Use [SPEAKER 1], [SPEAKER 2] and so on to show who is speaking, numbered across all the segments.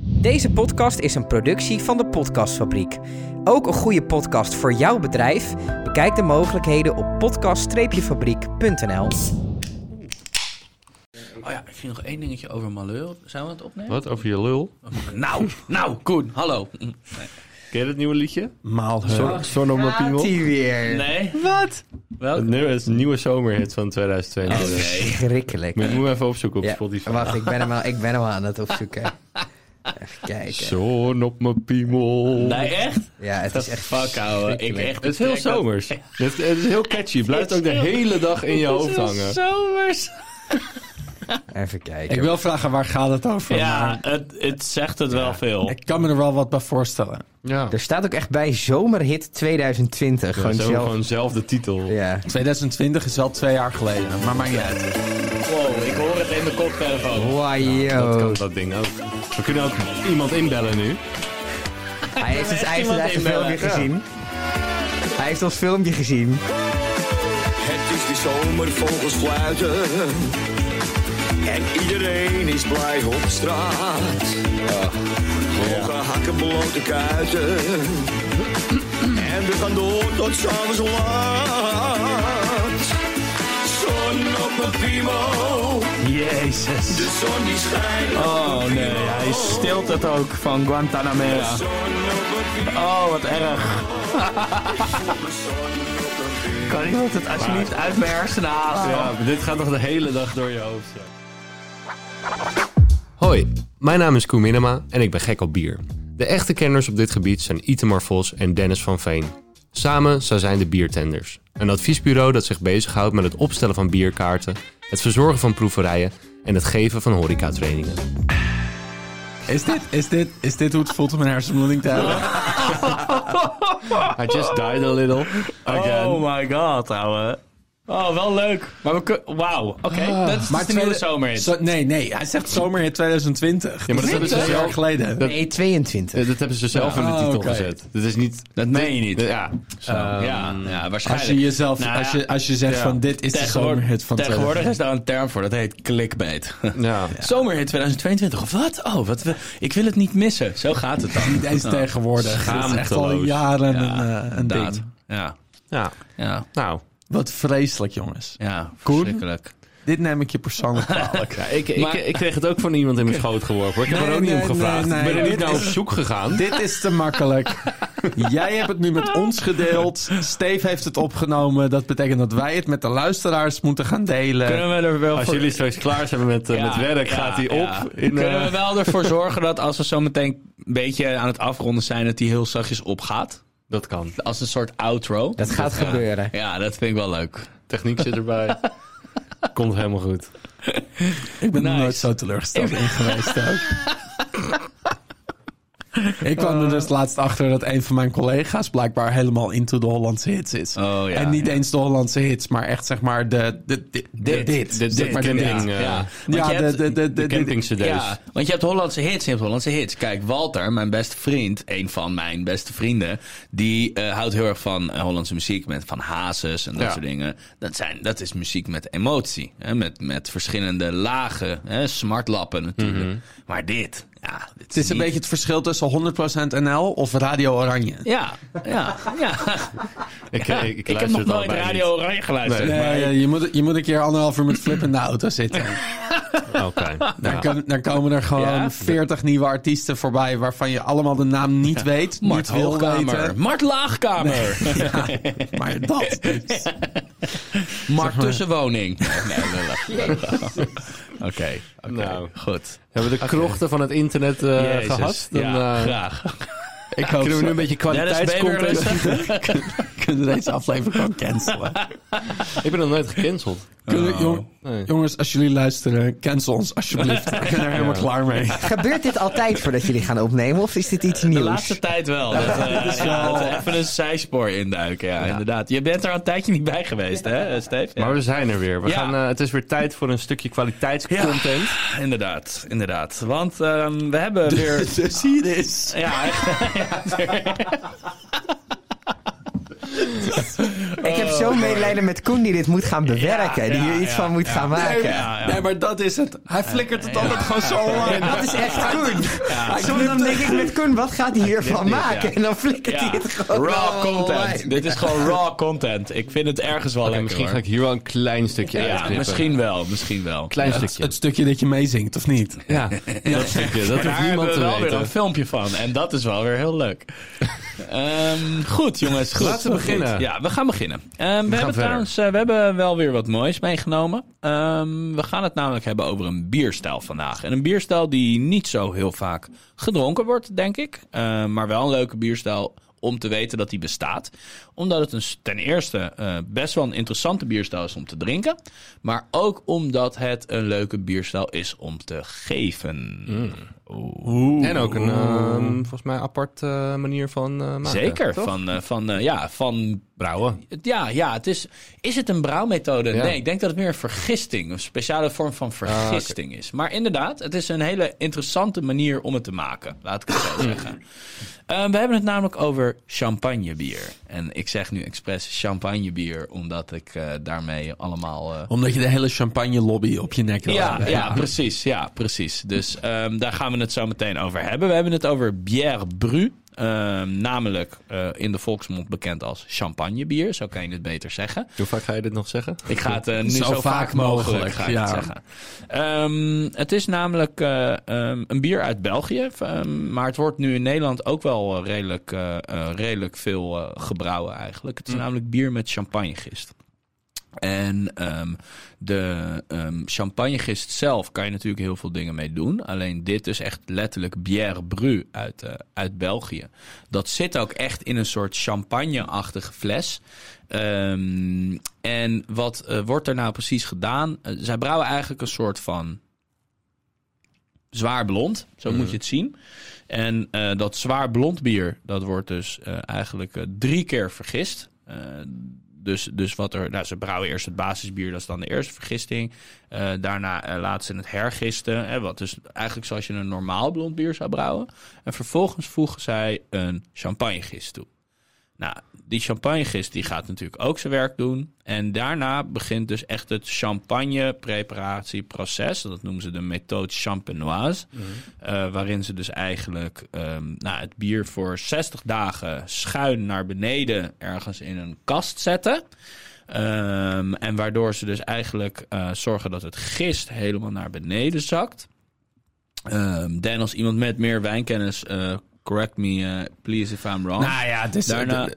[SPEAKER 1] Deze podcast is een productie van de Podcastfabriek. Ook een goede podcast voor jouw bedrijf? Bekijk de mogelijkheden op podcast-fabriek.nl.
[SPEAKER 2] Oh ja, ik vind nog één dingetje over Malheur. Zijn we aan het opnemen?
[SPEAKER 3] Wat? Over je lul?
[SPEAKER 2] Nou, nou, Koen, hallo.
[SPEAKER 3] Ken je dat nieuwe liedje?
[SPEAKER 4] Maal Sonomapingel.
[SPEAKER 1] weer.
[SPEAKER 2] Nee?
[SPEAKER 1] Wat?
[SPEAKER 2] Welk?
[SPEAKER 3] Het nummer is een nieuwe zomerhit van 2022.
[SPEAKER 1] Schrikkelijk.
[SPEAKER 3] Maar ik moet hem even opzoeken op
[SPEAKER 1] Ja,
[SPEAKER 3] Spotify.
[SPEAKER 1] wacht, ik ben, hem al, ik ben hem al aan het opzoeken. Even kijken.
[SPEAKER 3] Zo'n op mijn piemel.
[SPEAKER 2] Nee, echt?
[SPEAKER 1] Ja, het is echt
[SPEAKER 2] Fuck, ouwe. Ik
[SPEAKER 1] verschrikkelijk.
[SPEAKER 2] echt
[SPEAKER 3] Het is heel zomers. Het, het is heel catchy. Blijft ook de hele dag in je hoofd hangen.
[SPEAKER 2] Zomers.
[SPEAKER 1] Even kijken.
[SPEAKER 4] Ik wil vragen, waar gaat het over?
[SPEAKER 5] Ja,
[SPEAKER 4] Maar
[SPEAKER 5] het, het zegt het wel veel.
[SPEAKER 4] ik kan me er wel wat bij voorstellen.
[SPEAKER 3] Ja.
[SPEAKER 1] Er staat ook echt bij Zomerhit 2020.
[SPEAKER 3] Ja,
[SPEAKER 1] gewoon
[SPEAKER 3] zo
[SPEAKER 1] zelf.
[SPEAKER 3] gewoon zelf de titel.
[SPEAKER 1] Ja.
[SPEAKER 4] 2020 is wel twee jaar geleden, maar maakt niet uit.
[SPEAKER 5] Wow, ik hoor het in mijn koptelefoon.
[SPEAKER 3] Dat kan
[SPEAKER 1] Wajo.
[SPEAKER 3] dat ding ook. We kunnen ook iemand inbellen nu.
[SPEAKER 1] Hij heeft ons
[SPEAKER 5] echt
[SPEAKER 1] hij heeft
[SPEAKER 5] iemand
[SPEAKER 1] echt een filmpje
[SPEAKER 5] inbellen.
[SPEAKER 1] gezien. Hij heeft ons filmpje gezien.
[SPEAKER 6] Het is weer zomer, vogels fluiten. En iedereen is blij op straat. Hoge hakken, blote kuiten. En we gaan door tot s'avonds laat. Zon op mijn piemel,
[SPEAKER 5] Jezus.
[SPEAKER 6] de zon die schijnt.
[SPEAKER 5] Oh nee, hij stilt het ook van Guantanamera. Oh, wat erg. Kan iemand het alsjeblieft uit mijn hersenen halen?
[SPEAKER 3] Ja, maar dit gaat nog de hele dag door je hoofd. zo.
[SPEAKER 7] Hoi, mijn naam is Koen Minema en ik ben gek op bier. De echte kenners op dit gebied zijn Itemar Vos en Dennis van Veen. Samen zij zijn de Biertenders. Een adviesbureau dat zich bezighoudt met het opstellen van bierkaarten, het verzorgen van proeverijen en het geven van horecatrainingen.
[SPEAKER 4] Is dit, is dit, is dit hoe het voelt om een hersenbloeding te hebben?
[SPEAKER 3] I just died a little. Again.
[SPEAKER 5] Oh my god, ouwe. Oh, wel leuk. Maar we kun- Wauw, oké. dat is de nieuwe
[SPEAKER 4] tweede-
[SPEAKER 5] zomerhit.
[SPEAKER 4] zo- nee, nee, hij zegt zomerhit 2020. Ja, maar dat,
[SPEAKER 3] hebben
[SPEAKER 4] is
[SPEAKER 3] ze
[SPEAKER 4] twee
[SPEAKER 3] zelf-
[SPEAKER 4] jaar geleden.
[SPEAKER 3] dat-
[SPEAKER 1] Nee, 22.
[SPEAKER 3] Eh, Dat hebben ze zelf in de
[SPEAKER 4] Oh,
[SPEAKER 3] titel
[SPEAKER 4] oké.
[SPEAKER 3] gezet. Dit is niet...
[SPEAKER 5] Dat meen je niet.
[SPEAKER 3] Ja. Eh,
[SPEAKER 5] ja, ja, waarschijnlijk.
[SPEAKER 4] als je jezelf,
[SPEAKER 5] Nou ja,
[SPEAKER 4] als je, als je zegt
[SPEAKER 5] ja.
[SPEAKER 4] van dit is de
[SPEAKER 5] Tegenwoordig-
[SPEAKER 4] zomerhit van
[SPEAKER 5] Tegenwoordig
[SPEAKER 4] 2020.
[SPEAKER 5] is daar een term voor, dat heet clickbait.
[SPEAKER 3] ja.
[SPEAKER 5] Zomerhit 2022, of wat? Oh, wat, we- ik wil het niet missen. Zo gaat het dan.
[SPEAKER 4] Niet eens
[SPEAKER 5] Oh,
[SPEAKER 4] tegenwoordig. Het is echt al
[SPEAKER 3] schaamteloos.
[SPEAKER 4] jaren
[SPEAKER 5] Ja,
[SPEAKER 4] een, eh, een
[SPEAKER 5] inderdaad.
[SPEAKER 4] ding.
[SPEAKER 5] Ja,
[SPEAKER 3] Ja.
[SPEAKER 5] ja,
[SPEAKER 3] Nou.
[SPEAKER 4] Wat vreselijk, jongens.
[SPEAKER 5] ja.
[SPEAKER 4] Koen?
[SPEAKER 5] verschrikkelijk.
[SPEAKER 4] Dit neem ik je persoonlijk kwalijk.
[SPEAKER 3] Ja, ik, ik,
[SPEAKER 5] Maar-
[SPEAKER 3] ik kreeg het ook van iemand in mijn schoot geworpen. hoor. Ik heb
[SPEAKER 4] Nee,
[SPEAKER 3] er ook niet
[SPEAKER 4] nee,
[SPEAKER 3] om gevraagd.
[SPEAKER 4] nee, nee.
[SPEAKER 3] ik ben er niet
[SPEAKER 4] Dit
[SPEAKER 3] naar op
[SPEAKER 4] is-
[SPEAKER 3] zoek gegaan.
[SPEAKER 4] Dit is te makkelijk. Jij hebt het nu met ons gedeeld. Steve heeft het opgenomen. Dat betekent dat wij het met de luisteraars moeten gaan delen.
[SPEAKER 5] Kunnen we er wel
[SPEAKER 3] Als
[SPEAKER 5] voor...
[SPEAKER 3] jullie straks klaar zijn met, eh,
[SPEAKER 5] Ja,
[SPEAKER 3] met werk,
[SPEAKER 5] ja,
[SPEAKER 3] gaat hij op.
[SPEAKER 5] ja.
[SPEAKER 3] In, eh,
[SPEAKER 5] Kunnen we wel ervoor zorgen dat als we zo meteen een beetje aan het afronden zijn, dat die heel zachtjes opgaat?
[SPEAKER 3] Dat kan.
[SPEAKER 5] Als een soort outro.
[SPEAKER 1] Dat gaat gebeuren.
[SPEAKER 5] Ja, dat vind ik wel leuk.
[SPEAKER 3] Techniek zit erbij. Komt helemaal goed.
[SPEAKER 4] Ik ben nog
[SPEAKER 5] Nice.
[SPEAKER 4] nooit zo teleurgesteld in geweest ook. Ik kwam
[SPEAKER 5] Eh.
[SPEAKER 4] er dus laatst achter dat een van mijn collega's blijkbaar helemaal into de Hollandse hits is.
[SPEAKER 5] Oh, ja,
[SPEAKER 4] en niet
[SPEAKER 5] ja.
[SPEAKER 4] eens de Hollandse hits, maar echt zeg maar de, de, de, de- dit.
[SPEAKER 3] de-
[SPEAKER 4] zeg
[SPEAKER 3] de
[SPEAKER 4] maar de
[SPEAKER 3] camping,
[SPEAKER 4] dit.
[SPEAKER 3] eh,
[SPEAKER 5] Ja, want
[SPEAKER 4] Ja,
[SPEAKER 5] je
[SPEAKER 4] de,
[SPEAKER 5] hebt-
[SPEAKER 4] de, de,
[SPEAKER 3] De
[SPEAKER 4] de, de-
[SPEAKER 3] camping cd's.
[SPEAKER 5] Ja, want je hebt Hollandse hits en je hebt Hollandse hits. Kijk, Walter, mijn beste vriend, een van mijn beste vrienden, die eh, houdt heel erg van eh, Hollandse muziek, met van hazes en dat
[SPEAKER 3] Ja.
[SPEAKER 5] soort dingen. Dat, zijn, dat is muziek met emotie, hè, met, met verschillende lagen, hè, smartlappen natuurlijk.
[SPEAKER 3] Mhm.
[SPEAKER 5] Maar dit, ja, dit
[SPEAKER 4] Het is een
[SPEAKER 5] niet-
[SPEAKER 4] beetje het verschil tussen 100% NL of Radio Oranje.
[SPEAKER 5] Ja, ja, ja.
[SPEAKER 3] Ik, eh,
[SPEAKER 5] Ja,
[SPEAKER 3] ik, ik,
[SPEAKER 5] heb
[SPEAKER 3] luister
[SPEAKER 5] nog
[SPEAKER 3] het al
[SPEAKER 5] nooit
[SPEAKER 3] bij.
[SPEAKER 5] Radio Oranje geluisterd.
[SPEAKER 3] Nee.
[SPEAKER 5] maar-
[SPEAKER 4] Nee, eh, je, moet, je moet een keer anderhalf uur met flip in de auto zitten.
[SPEAKER 3] Oké.
[SPEAKER 4] Dan,
[SPEAKER 3] Ja.
[SPEAKER 4] kan- dan komen er gewoon
[SPEAKER 5] Ja?
[SPEAKER 4] 40 nieuwe artiesten voorbij... waarvan je allemaal de naam niet weet,
[SPEAKER 5] Mart
[SPEAKER 4] niet wil
[SPEAKER 5] Hoogkamer.
[SPEAKER 4] weten.
[SPEAKER 5] Mart Laagkamer.
[SPEAKER 4] Maar dat is...
[SPEAKER 5] Mart Tussenwoning. Nee, lullig, lullig. Oké, oké,
[SPEAKER 3] Nou.
[SPEAKER 5] goed.
[SPEAKER 3] Hebben we de krochten van het internet eh,
[SPEAKER 5] Jezus,
[SPEAKER 3] gehad? Dan,
[SPEAKER 5] ja,
[SPEAKER 3] eh,
[SPEAKER 5] graag.
[SPEAKER 4] Ik hoop
[SPEAKER 3] kunnen we nu
[SPEAKER 4] zo.
[SPEAKER 3] een beetje
[SPEAKER 5] Dennis, ben
[SPEAKER 3] kwaliteitscontent...
[SPEAKER 5] je weer rustig?
[SPEAKER 4] kunnen we deze aflevering gewoon cancelen.
[SPEAKER 3] Ik ben nog nooit gecanceld.
[SPEAKER 4] Kunnen we- jong-
[SPEAKER 3] Nee.
[SPEAKER 4] Jongens, als jullie luisteren, cancel ons alsjeblieft. Ik ben er helemaal klaar mee.
[SPEAKER 1] Gebeurt dit altijd voordat jullie gaan opnemen? Of is dit iets
[SPEAKER 5] De
[SPEAKER 1] nieuws?
[SPEAKER 5] laatste tijd wel. Dat, eh, ja, dat we even een zijspoor induiken, ja, inderdaad. Je bent er al een tijdje niet bij geweest, hè, eh, Steve? Ja.
[SPEAKER 3] Maar we zijn er weer. We
[SPEAKER 5] Ja.
[SPEAKER 3] gaan, eh, het is weer tijd voor een stukje kwaliteitscontent.
[SPEAKER 5] Inderdaad, inderdaad. Want ehm, we hebben weer...
[SPEAKER 4] Dus hier is...
[SPEAKER 5] Ja, echt.
[SPEAKER 1] Ik heb zo'n medelijden met Koen die dit moet gaan bewerken. die hier
[SPEAKER 5] Oh. ja,
[SPEAKER 1] iets
[SPEAKER 5] ja,
[SPEAKER 1] van moet
[SPEAKER 5] ja.
[SPEAKER 1] gaan maken.
[SPEAKER 4] Nee,
[SPEAKER 5] ja.
[SPEAKER 4] nee, maar dat is het. Hij flikkert het altijd gewoon zo online.
[SPEAKER 1] Dat is echt Koen.
[SPEAKER 4] Hij
[SPEAKER 1] Zonder
[SPEAKER 8] dan denk ik met Kun, wat gaat hij hiervan maken? En dan flikkert hij
[SPEAKER 5] Ja.
[SPEAKER 8] het gewoon
[SPEAKER 5] Raw
[SPEAKER 8] allemaal
[SPEAKER 5] content.
[SPEAKER 8] online.
[SPEAKER 5] Dit is gewoon raw content. Ik vind het ergens wel lekker.
[SPEAKER 3] misschien
[SPEAKER 5] hoor.
[SPEAKER 3] ga ik hier wel een klein stukje
[SPEAKER 5] Ja,
[SPEAKER 3] uitknippen.
[SPEAKER 5] misschien wel, misschien wel.
[SPEAKER 3] Klein
[SPEAKER 4] Het,
[SPEAKER 3] stukje.
[SPEAKER 4] het stukje dat je meezingt, of niet?
[SPEAKER 3] ja, dat stukje. Dat
[SPEAKER 5] Daar
[SPEAKER 3] hoeft
[SPEAKER 5] hebben
[SPEAKER 3] niemand
[SPEAKER 5] we
[SPEAKER 3] te
[SPEAKER 5] wel
[SPEAKER 3] weten.
[SPEAKER 5] weer een filmpje van. En dat is wel weer heel leuk. Ehm, goed, jongens. Goed.
[SPEAKER 3] Laten we beginnen.
[SPEAKER 5] Ja, we gaan beginnen. Ehm, we, hebben
[SPEAKER 3] verder.
[SPEAKER 5] trouwens, eh, we hebben wel weer wat moois meegenomen. Ehm, we gaan het namelijk hebben over een bierstijl vandaag. En een bierstijl die niet zo heel vaak gedronken wordt, denk ik. Ehm, maar wel een leuke bierstijl om te weten dat die bestaat. Omdat het een, s- ten eerste eh, best wel een interessante bierstijl is om te drinken. Maar ook omdat het een leuke bierstijl is om te geven.
[SPEAKER 3] En ook een, ehm, volgens mij, apart eh, manier van eh, maken.
[SPEAKER 5] Zeker.
[SPEAKER 3] toch?
[SPEAKER 5] Van, eh, van, eh, ja, van,
[SPEAKER 3] Brouwen.
[SPEAKER 5] ja, ja het is, is het een brouwmethode?
[SPEAKER 3] Ja. Ah,
[SPEAKER 5] Nee, ik denk dat het meer een vergisting, een speciale vorm van vergisting is. Maar inderdaad, het is een hele interessante manier om het te maken. Laat ik het zo zeggen. Eh, we hebben het namelijk over champagnebier. En ik zeg nu expres champagnebier, omdat ik eh, daarmee allemaal... eh,
[SPEAKER 4] Omdat je de hele champagne lobby op je nek wil
[SPEAKER 5] ja,
[SPEAKER 4] hebben.
[SPEAKER 5] ja, precies. Ja, precies. Dus ehm, daar gaan we het zo meteen over hebben. We hebben het over bière bru. ehm, namelijk eh, in de volksmond bekend als champagnebier. Zo kan je het beter zeggen.
[SPEAKER 3] Hoe vaak ga je dit nog zeggen?
[SPEAKER 5] Ik ga het eh, nu zo, vaak mogelijk, ga ik
[SPEAKER 4] ja.
[SPEAKER 5] het zeggen. Ehm, het is namelijk eh, ehm, een bier uit België. ehm, maar het wordt nu in Nederland ook wel eh, redelijk, eh, eh, redelijk veel eh, gebrouwen eigenlijk. Het is namelijk bier met champagnegist. En ehm, de ehm, champagnegist zelf kan je natuurlijk heel veel dingen mee doen. Alleen dit is echt letterlijk bière bru uit, eh, uit België. Dat zit ook echt in een soort champagne-achtige fles. Ehm, en wat eh, wordt er nou precies gedaan? Eh, zij brouwen eigenlijk een soort van zwaar blond. Zo moet je het zien. En eh, dat zwaar blond bier, dat wordt dus eh, eigenlijk eh, drie keer vergist. Eh, dus, dus wat er, nou, ze brouwen eerst het basisbier, dat is dan de eerste vergisting. Eh, daarna eh, laten ze het hergisten, hè, wat dus eigenlijk zoals je een normaal blond bier zou brouwen. En vervolgens voegen zij een champagnegist toe. Nou, die champagnegist die gaat natuurlijk ook zijn werk doen. En daarna begint dus echt het champagne-preparatieproces. Dat noemen ze de methode champenoise.
[SPEAKER 4] Mhm.
[SPEAKER 5] Eh, waarin ze dus eigenlijk ehm, nou, het bier voor 60 dagen schuin naar beneden ergens in een kast zetten. Ehm, en waardoor ze dus eigenlijk eh, zorgen dat het gist helemaal naar beneden zakt. Ehm Dan als iemand met meer wijnkennis, eh, correct me eh, please if I'm wrong.
[SPEAKER 4] Nou ja, dus
[SPEAKER 5] Daarna-
[SPEAKER 4] het,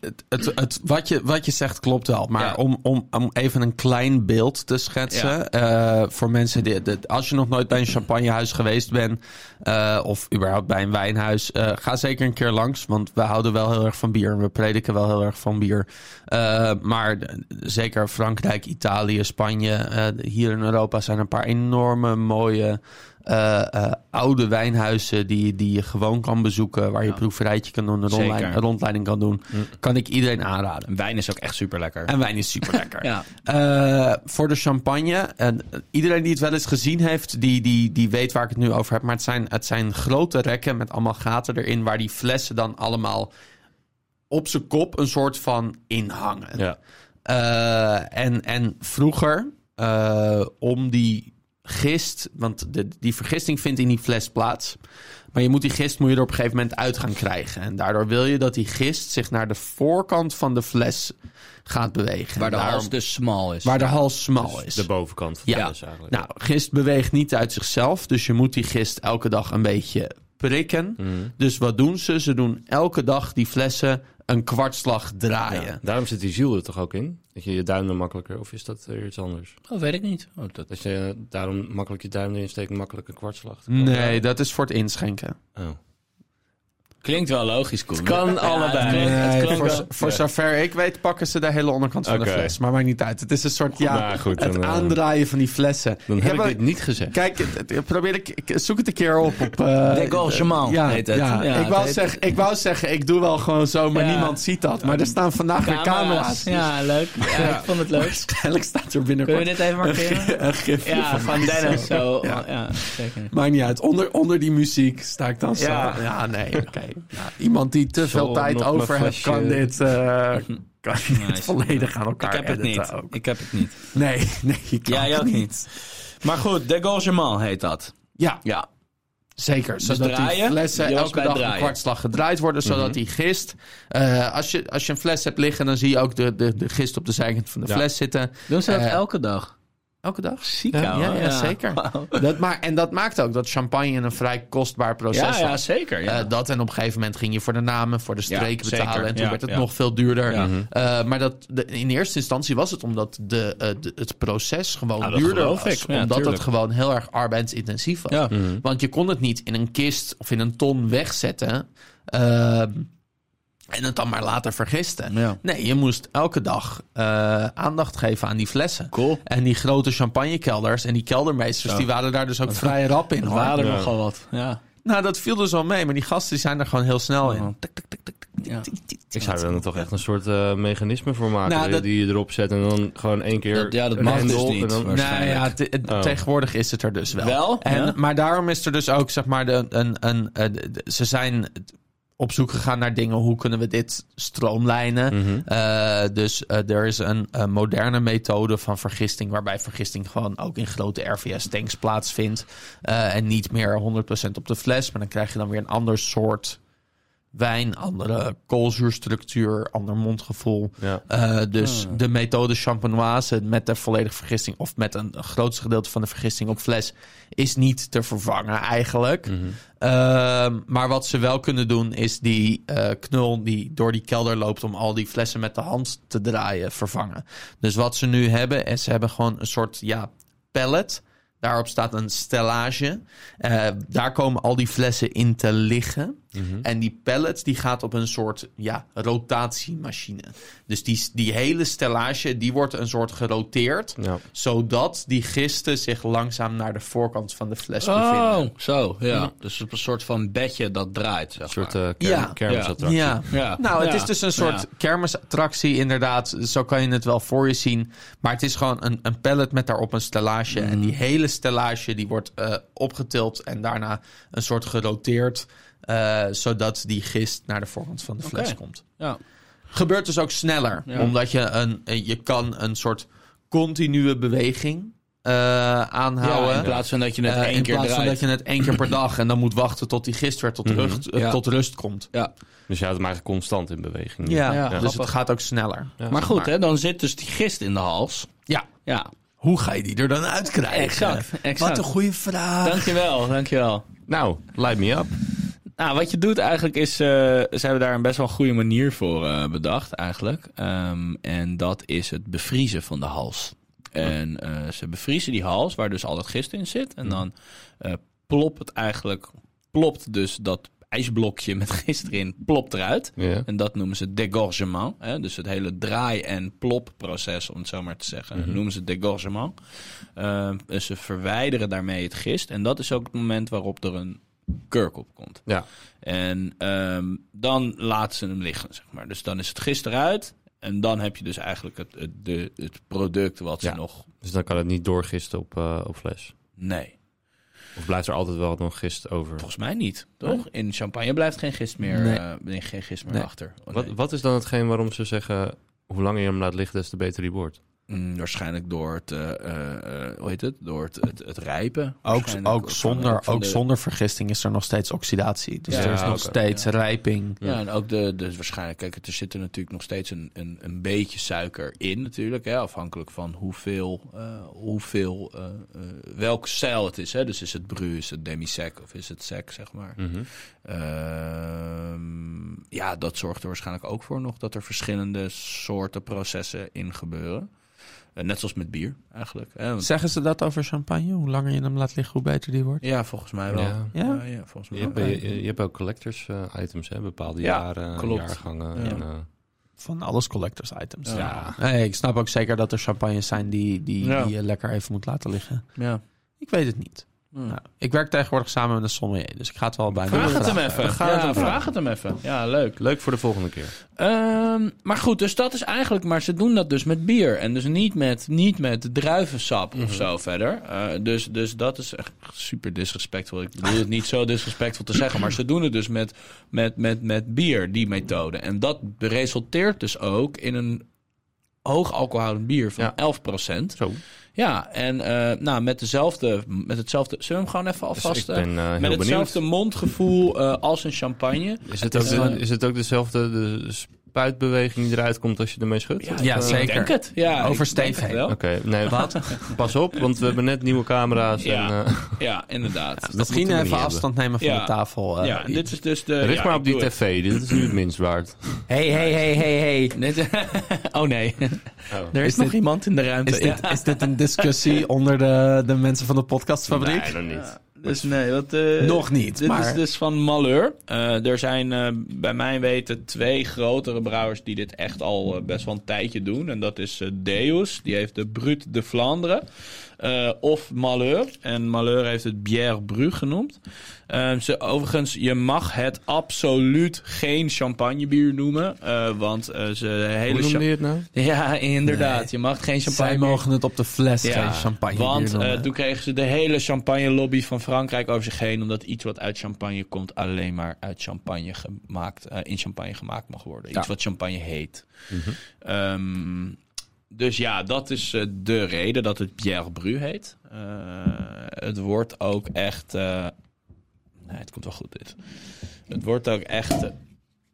[SPEAKER 4] het, het, het- wat, je, wat je zegt klopt wel. Maar
[SPEAKER 5] Ja.
[SPEAKER 4] om, om, om even een klein beeld te schetsen. eh, voor mensen, die, die- als je nog nooit bij een champagnehuis geweest bent. eh, of überhaupt bij een wijnhuis. eh, ga zeker een keer langs. Want we houden wel heel erg van bier. En we prediken wel heel erg van bier. Eh, maar d- zeker Frankrijk, Italië, Spanje. eh, hier in Europa zijn een paar enorme mooie. eh, eh, oude wijnhuizen die, die je gewoon kan bezoeken, waar je proeverijtje kan doen, een rondleiding,
[SPEAKER 5] Zeker. Hm.
[SPEAKER 4] een rondleiding kan doen, kan ik iedereen aanraden.
[SPEAKER 5] En wijn is ook echt super lekker.
[SPEAKER 4] En wijn is super lekker.
[SPEAKER 5] Ja.
[SPEAKER 4] voor de champagne. En iedereen die het wel eens gezien heeft, die, die, die weet waar ik het nu over heb. Maar het zijn, het zijn grote rekken met allemaal gaten erin, waar die flessen dan allemaal op zijn kop een soort van inhangen.
[SPEAKER 3] Ja.
[SPEAKER 4] Eh, en, en vroeger, eh, om die gist, want de, die vergisting vindt in die fles plaats. Maar je moet die gist moet je er op een gegeven moment uit gaan krijgen. En daardoor wil je dat die gist zich naar de voorkant van de fles gaat bewegen.
[SPEAKER 5] Waar de
[SPEAKER 4] En daarom-
[SPEAKER 5] hals dus smal is.
[SPEAKER 4] waar de hals smal is.
[SPEAKER 3] De bovenkant van
[SPEAKER 4] Ja.
[SPEAKER 3] de fles eigenlijk.
[SPEAKER 4] Nou, gist beweegt niet uit zichzelf. Dus je moet die gist elke dag een beetje prikken.
[SPEAKER 5] Mhm.
[SPEAKER 4] Dus wat doen ze? Ze doen elke dag die flessen een kwartslag draaien.
[SPEAKER 3] Ja. Daarom zit die ziel er toch ook in? Dat je je duim dan makkelijker... Of is dat weer iets anders?
[SPEAKER 5] Oh, weet ik niet. Oh, dat...
[SPEAKER 3] Dat je eh, daarom makkelijk je duim erin steekt, makkelijk een kwartslag. te komen?
[SPEAKER 4] Nee, dat is voor het inschenken.
[SPEAKER 3] Oh.
[SPEAKER 5] Klinkt wel logisch, Koen. Het
[SPEAKER 3] kan allebei.
[SPEAKER 5] het klonk
[SPEAKER 4] voor,
[SPEAKER 5] wel-
[SPEAKER 4] z- voor zover ik weet pakken ze de hele onderkant van de
[SPEAKER 3] Oké.
[SPEAKER 4] fles. Maar maakt niet uit. Het is een soort, ja,
[SPEAKER 3] Nou, goed,
[SPEAKER 4] het
[SPEAKER 3] dan, eh,
[SPEAKER 4] aandraaien van die flessen.
[SPEAKER 3] Dan
[SPEAKER 4] Ik
[SPEAKER 3] heb ik
[SPEAKER 4] wel-
[SPEAKER 3] dit niet gezegd.
[SPEAKER 4] Kijk, het- het- probeer ik, ik- zoek het een keer op. op eh,
[SPEAKER 5] Dégorgement
[SPEAKER 4] ja,
[SPEAKER 5] heet het.
[SPEAKER 4] ja.
[SPEAKER 5] Ja,
[SPEAKER 4] ik, wou
[SPEAKER 5] het heet-
[SPEAKER 4] zeggen, ik wou zeggen, ik doe wel gewoon zo, maar
[SPEAKER 5] Ja.
[SPEAKER 4] niemand ziet dat. Maar er staan vandaag weer camera's. dus
[SPEAKER 5] Ja, leuk. Ja, Ik vond het leuk.
[SPEAKER 4] Waarschijnlijk staat er
[SPEAKER 5] Kunnen we
[SPEAKER 4] binnenkort
[SPEAKER 5] dit even markeren?
[SPEAKER 4] een gifje
[SPEAKER 5] Ja,
[SPEAKER 4] van
[SPEAKER 5] van
[SPEAKER 4] mij.
[SPEAKER 5] Dennis. Zo.
[SPEAKER 4] Ja.
[SPEAKER 5] Ja, zeker.
[SPEAKER 4] Maakt niet uit. Onder, onder die muziek sta ik dan zo.
[SPEAKER 5] Ja.
[SPEAKER 4] Ja, nee, oké. Nou, iemand die te
[SPEAKER 3] Zo,
[SPEAKER 4] veel tijd
[SPEAKER 3] nog mijn
[SPEAKER 4] over heeft,
[SPEAKER 3] flesje.
[SPEAKER 4] kan dit, eh, kan dit
[SPEAKER 5] Nice.
[SPEAKER 4] volledig aan elkaar
[SPEAKER 5] Ik heb het
[SPEAKER 4] editen
[SPEAKER 5] niet.
[SPEAKER 4] ook.
[SPEAKER 5] Ik heb het niet.
[SPEAKER 4] Nee, nee, ik kan
[SPEAKER 5] Jij ook
[SPEAKER 4] het
[SPEAKER 5] niet. Maar goed, dégorgement heet dat.
[SPEAKER 4] Ja,
[SPEAKER 5] Ja.
[SPEAKER 4] Zeker, zodat die
[SPEAKER 5] Dus draaien?
[SPEAKER 4] flessen
[SPEAKER 5] Je was
[SPEAKER 4] elke
[SPEAKER 5] bij
[SPEAKER 4] dag
[SPEAKER 5] het
[SPEAKER 4] een
[SPEAKER 5] draaien. Mhm.
[SPEAKER 4] kwartslag gedraaid worden, zodat die gist... eh, als, je, als je een fles hebt liggen, dan zie je ook de, de, de gist op de zijkant van de fles zitten.
[SPEAKER 5] Doen ze dat
[SPEAKER 4] Eh,
[SPEAKER 5] elke dag?
[SPEAKER 4] Elke dag?
[SPEAKER 5] Ziek,
[SPEAKER 4] Ja,
[SPEAKER 5] ouwe.
[SPEAKER 4] ja, ja, zeker. Dat ma en dat maakt ook dat champagne een vrij kostbaar proces
[SPEAKER 5] Ja, ja,
[SPEAKER 4] was.
[SPEAKER 5] zeker. Ja.
[SPEAKER 4] Eh, dat en op een gegeven moment ging je voor de namen, voor de streken
[SPEAKER 5] Ja,
[SPEAKER 4] betalen.
[SPEAKER 5] zeker.
[SPEAKER 4] En toen
[SPEAKER 5] Ja,
[SPEAKER 4] werd het
[SPEAKER 5] ja.
[SPEAKER 4] nog veel duurder.
[SPEAKER 5] Ja. Mhm.
[SPEAKER 4] Eh, maar dat, de- in eerste instantie was het omdat de, eh, de- het proces gewoon
[SPEAKER 5] Nou, dat
[SPEAKER 4] duurder
[SPEAKER 5] geloof
[SPEAKER 4] was.
[SPEAKER 5] ik. Ja,
[SPEAKER 4] omdat het
[SPEAKER 5] tuurlijk.
[SPEAKER 4] gewoon heel erg arbeidsintensief was.
[SPEAKER 5] Ja.
[SPEAKER 4] Want je kon het niet in een kist of in een ton wegzetten. ehm, en het dan maar later vergisten.
[SPEAKER 5] Ja.
[SPEAKER 4] Nee, je moest elke dag eh, aandacht geven aan die flessen.
[SPEAKER 5] Cool.
[SPEAKER 4] En die grote champagnekelders en die keldermeesters... die waren daar dus ook vrij rap in.
[SPEAKER 5] Er
[SPEAKER 4] Hoor.
[SPEAKER 5] waren er nogal wat. Ja.
[SPEAKER 4] Nou, dat viel dus wel mee. Maar die gasten die zijn er gewoon heel snel in.
[SPEAKER 5] Oh, Ja.
[SPEAKER 3] Ik zou er dan toch echt een soort eh, mechanisme voor maken.
[SPEAKER 4] Nou,
[SPEAKER 3] die-
[SPEAKER 4] dat-
[SPEAKER 3] die je erop zet en dan gewoon één keer.
[SPEAKER 5] Dat- ja, dat
[SPEAKER 3] een
[SPEAKER 5] mag
[SPEAKER 3] hendel
[SPEAKER 5] dus niet,
[SPEAKER 3] en dan-
[SPEAKER 5] maar-
[SPEAKER 4] Nou
[SPEAKER 5] waarschijnlijk.
[SPEAKER 4] ja, te- het-
[SPEAKER 3] Oh.
[SPEAKER 4] tegenwoordig is het er dus wel.
[SPEAKER 5] Wel?
[SPEAKER 4] En,
[SPEAKER 5] Ja.
[SPEAKER 4] Maar daarom is er dus ook, zeg maar, de, een, een, eh, de- de- ze zijn op zoek gegaan naar dingen. Hoe kunnen we dit stroomlijnen? Eh, dus eh, er is een, eh, moderne methode van vergisting, waarbij vergisting gewoon ook in grote RVS-tanks plaatsvindt. Eh, en niet meer 100% op de fles, maar dan krijg je dan weer een ander soort wijn, andere koolzuurstructuur, ander mondgevoel.
[SPEAKER 3] Ja.
[SPEAKER 4] Eh, dus de methode champenoise met de volledige vergisting... of met een grootste gedeelte van de vergisting op fles... is niet te vervangen eigenlijk. Ehm, maar wat ze wel kunnen doen is die eh, knul die door die kelder loopt... om al die flessen met de hand te draaien vervangen. Dus wat ze nu hebben is ze hebben gewoon een soort ja, pallet... Daarop staat een stellage. Eh, daar komen al die flessen in te liggen. En die pallet die gaat op een soort ja, rotatiemachine. Dus die, die hele stellage die wordt een soort geroteerd.
[SPEAKER 3] Ja.
[SPEAKER 4] Zodat die gisten zich langzaam naar de voorkant van de fles bevinden.
[SPEAKER 5] Oh, zo. Ja. Dus op een soort van bedje dat draait. Zeg
[SPEAKER 3] Een soort
[SPEAKER 5] maar.
[SPEAKER 3] eh
[SPEAKER 4] Ja.
[SPEAKER 3] kerm, kermisattractie.
[SPEAKER 4] Ja.
[SPEAKER 5] Ja.
[SPEAKER 4] Nou, het
[SPEAKER 5] Ja.
[SPEAKER 4] is dus een soort
[SPEAKER 5] Ja.
[SPEAKER 4] kermisattractie, inderdaad. Zo kan je het wel voor je zien. Maar het is gewoon een, een pallet met daarop een stellage. En die hele stellage die wordt eh, opgetild en daarna een soort geroteerd. eh, zodat die gist naar de voorkant van de fles
[SPEAKER 5] Oké.
[SPEAKER 4] komt.
[SPEAKER 5] Ja.
[SPEAKER 4] Gebeurt dus ook sneller. Omdat je een, eh, je kan een soort continue beweging eh, aanhouden.
[SPEAKER 5] Ja, in plaats van dat je het
[SPEAKER 4] Eh,
[SPEAKER 5] één
[SPEAKER 4] in
[SPEAKER 5] keer
[SPEAKER 4] plaats van
[SPEAKER 5] draait.
[SPEAKER 4] dat je het één keer per dag en dan moet wachten tot die gist weer tot, rust, eh,
[SPEAKER 5] Ja.
[SPEAKER 4] tot rust komt.
[SPEAKER 5] Ja.
[SPEAKER 3] Dus je houdt hem eigenlijk constant in beweging.
[SPEAKER 4] Ja,
[SPEAKER 5] Ja,
[SPEAKER 4] dus
[SPEAKER 5] grappig.
[SPEAKER 4] het gaat ook sneller. Ja.
[SPEAKER 5] Maar goed, hè, dan zit dus die gist in de hals. Ja.
[SPEAKER 4] Hoe ga je die er dan uitkrijgen?
[SPEAKER 5] Exact, exact.
[SPEAKER 4] Wat een goede vraag.
[SPEAKER 5] Dankjewel, dankjewel.
[SPEAKER 3] Nou, light me up.
[SPEAKER 5] Nou, wat je doet eigenlijk is, eh, ze hebben daar een best wel een goede manier voor eh, bedacht eigenlijk. Ehm, en dat is het bevriezen van de hals. En eh, ze bevriezen die hals, waar dus al dat gist in zit. En dan eh, plopt het eigenlijk, plopt dus dat ijsblokje met gist erin, plopt eruit.
[SPEAKER 3] Ja.
[SPEAKER 5] En dat noemen ze dégorgement. Hè? Dus het hele draai- en plopproces, om het zo maar te zeggen, noemen ze dégorgement. Ehm, dus ze verwijderen daarmee het gist. En dat is ook het moment waarop er een kurk op komt.
[SPEAKER 3] Ja.
[SPEAKER 5] En ehm, dan laten ze hem liggen, zeg maar. Dus dan is het gist eruit. En dan heb je dus eigenlijk het, het, de, het product wat ze
[SPEAKER 3] Ja.
[SPEAKER 5] nog...
[SPEAKER 3] Dus dan kan het niet doorgisten op, eh, op fles.
[SPEAKER 5] Nee,
[SPEAKER 3] Of blijft er altijd wel nog gist over?
[SPEAKER 5] volgens mij niet, toch? In champagne blijft geen gist meer,
[SPEAKER 4] Nee.
[SPEAKER 5] eh, nee, geen gist meer
[SPEAKER 4] Nee.
[SPEAKER 5] achter. Oh,
[SPEAKER 3] Wat,
[SPEAKER 5] nee.
[SPEAKER 3] wat is dan hetgeen waarom ze zeggen... hoe langer je hem laat liggen, des te beter die wordt?
[SPEAKER 5] Mm, waarschijnlijk door het, eh, eh, eh, hoe heet het? Door het, het, het rijpen.
[SPEAKER 4] Ook,
[SPEAKER 5] Waarschijnlijk
[SPEAKER 4] ook,
[SPEAKER 5] van-
[SPEAKER 4] zonder,
[SPEAKER 5] van
[SPEAKER 4] ook
[SPEAKER 5] de-
[SPEAKER 4] zonder vergisting is er nog steeds oxidatie. Dus
[SPEAKER 5] Ja,
[SPEAKER 4] er is nog
[SPEAKER 5] oké,
[SPEAKER 4] steeds rijping.
[SPEAKER 5] Ja, en ook de, de waarschijnlijk, kijk, het- er zit er natuurlijk nog steeds een, een, een beetje suiker in natuurlijk. Hè, afhankelijk van hoeveel, eh, hoeveel eh eh, welk stijl het is. Hè. Dus is het bru, is het demi-sec of is het sec, zeg maar. Ehm, ja, dat zorgt er waarschijnlijk ook voor nog dat er verschillende soorten processen in gebeuren. Eh, net zoals met bier eigenlijk. Hè, want-
[SPEAKER 4] Zeggen ze dat over champagne? Hoe langer je hem laat liggen, hoe beter die wordt?
[SPEAKER 5] ja, volgens mij wel.
[SPEAKER 3] Ja.
[SPEAKER 4] Ja?
[SPEAKER 5] ja, volgens mij
[SPEAKER 3] Je, hebt,
[SPEAKER 5] wel.
[SPEAKER 3] je, je hebt ook collectors eh, items, hè? Bepaalde
[SPEAKER 5] Ja,
[SPEAKER 3] jaren,
[SPEAKER 5] klopt.
[SPEAKER 3] jaargangen.
[SPEAKER 5] Ja.
[SPEAKER 3] En, eh,
[SPEAKER 4] Van alles collectors items.
[SPEAKER 5] Ja.
[SPEAKER 4] Nee, ik snap ook zeker dat er champagnes zijn die, die,
[SPEAKER 5] Ja.
[SPEAKER 4] die je lekker even moet laten liggen.
[SPEAKER 5] Ja.
[SPEAKER 4] Ik weet het niet. Nou, ik werk tegenwoordig samen met een sommelier, dus ik ga het wel bijna
[SPEAKER 5] Vraag het
[SPEAKER 4] vragen.
[SPEAKER 5] hem even. ja, vraag het hem even. Ja, leuk.
[SPEAKER 3] leuk voor de volgende keer.
[SPEAKER 5] Ehm, maar goed, dus dat is eigenlijk. Maar ze doen dat dus met bier. En dus niet met, niet met druivensap
[SPEAKER 3] Mhm.
[SPEAKER 5] of zo verder. Eh, dus, dus dat is echt super disrespectvol. Ik bedoel het niet zo disrespectvol te zeggen. Maar ze doen het dus met, met, met, met bier, die methode. En dat resulteert dus ook in een hoog alcoholhoudend bier van 11%.
[SPEAKER 3] Zo.
[SPEAKER 5] Ja, en eh, nou, met, dezelfde, met hetzelfde... Zullen we hem gewoon even alvast...
[SPEAKER 3] ik
[SPEAKER 5] eh,
[SPEAKER 3] ben, eh, heel
[SPEAKER 5] met hetzelfde mondgevoel eh, als een champagne.
[SPEAKER 3] Is het, ook de- is het ook dezelfde de spuitbeweging die eruit komt als je ermee schudt? Of,
[SPEAKER 4] Ja,
[SPEAKER 3] eh,
[SPEAKER 4] zeker.
[SPEAKER 5] Denk het. Ja, ik
[SPEAKER 4] Oversteef
[SPEAKER 5] denk het
[SPEAKER 4] heen.
[SPEAKER 5] wel.
[SPEAKER 3] Oké, nee, wat? Pas op, want we hebben net nieuwe camera's.
[SPEAKER 5] Ja.
[SPEAKER 3] En, eh,
[SPEAKER 5] Ja, inderdaad.
[SPEAKER 4] Misschien
[SPEAKER 3] moeten we
[SPEAKER 4] even
[SPEAKER 3] niet
[SPEAKER 4] afstand nemen van
[SPEAKER 5] Ja.
[SPEAKER 4] de tafel. eh,
[SPEAKER 5] ja,
[SPEAKER 4] iets.
[SPEAKER 5] dit is dus de...
[SPEAKER 3] richt
[SPEAKER 5] ja,
[SPEAKER 3] maar
[SPEAKER 5] ik
[SPEAKER 3] op die
[SPEAKER 5] doe het.
[SPEAKER 3] tv, dit is nu het minst waard.
[SPEAKER 1] Hey, hey, hey, hey, hey.
[SPEAKER 5] Dit- oh nee. Er is,
[SPEAKER 4] Is
[SPEAKER 5] nog
[SPEAKER 4] dit-
[SPEAKER 5] iemand in de ruimte.
[SPEAKER 4] is, dit, is dit een discussie onder de, de mensen van de podcastfabriek?
[SPEAKER 3] Nee, dan niet.
[SPEAKER 5] Dus nee, wat, eh,
[SPEAKER 4] Nog niet,
[SPEAKER 5] Dit
[SPEAKER 4] maar-
[SPEAKER 5] is dus van Malheur. Eh, er zijn eh, bij mijn weten twee grotere brouwers die dit echt al eh, best wel een tijdje doen. En dat is eh, Deus, die heeft de Brut de Vlaanderen. eh, of Malheur. En Malheur heeft het Bière Bru genoemd. Eh, ze, overigens, je mag het absoluut geen champagnebier noemen. eh, want eh, ze hele...
[SPEAKER 3] Hoe noemde je
[SPEAKER 5] cha-
[SPEAKER 3] het nou?
[SPEAKER 5] Ja, inderdaad. Je mag geen
[SPEAKER 4] Zij
[SPEAKER 5] champagne
[SPEAKER 4] mogen het op de fles geen champagne
[SPEAKER 5] want
[SPEAKER 4] bier noemen.
[SPEAKER 5] eh, toen kregen ze de hele champagne lobby van Frankrijk over zich heen. Omdat iets wat uit champagne komt, alleen maar uit champagne gemaakt, eh, in champagne gemaakt mag worden. Iets wat champagne heet.
[SPEAKER 4] Mhm.
[SPEAKER 5] Ehm, dus ja, dat is eh, de reden dat het Pierre Bru heet. Eh, het wordt ook echt. eh, nee, het komt wel goed dit. Het wordt ook echt. eh,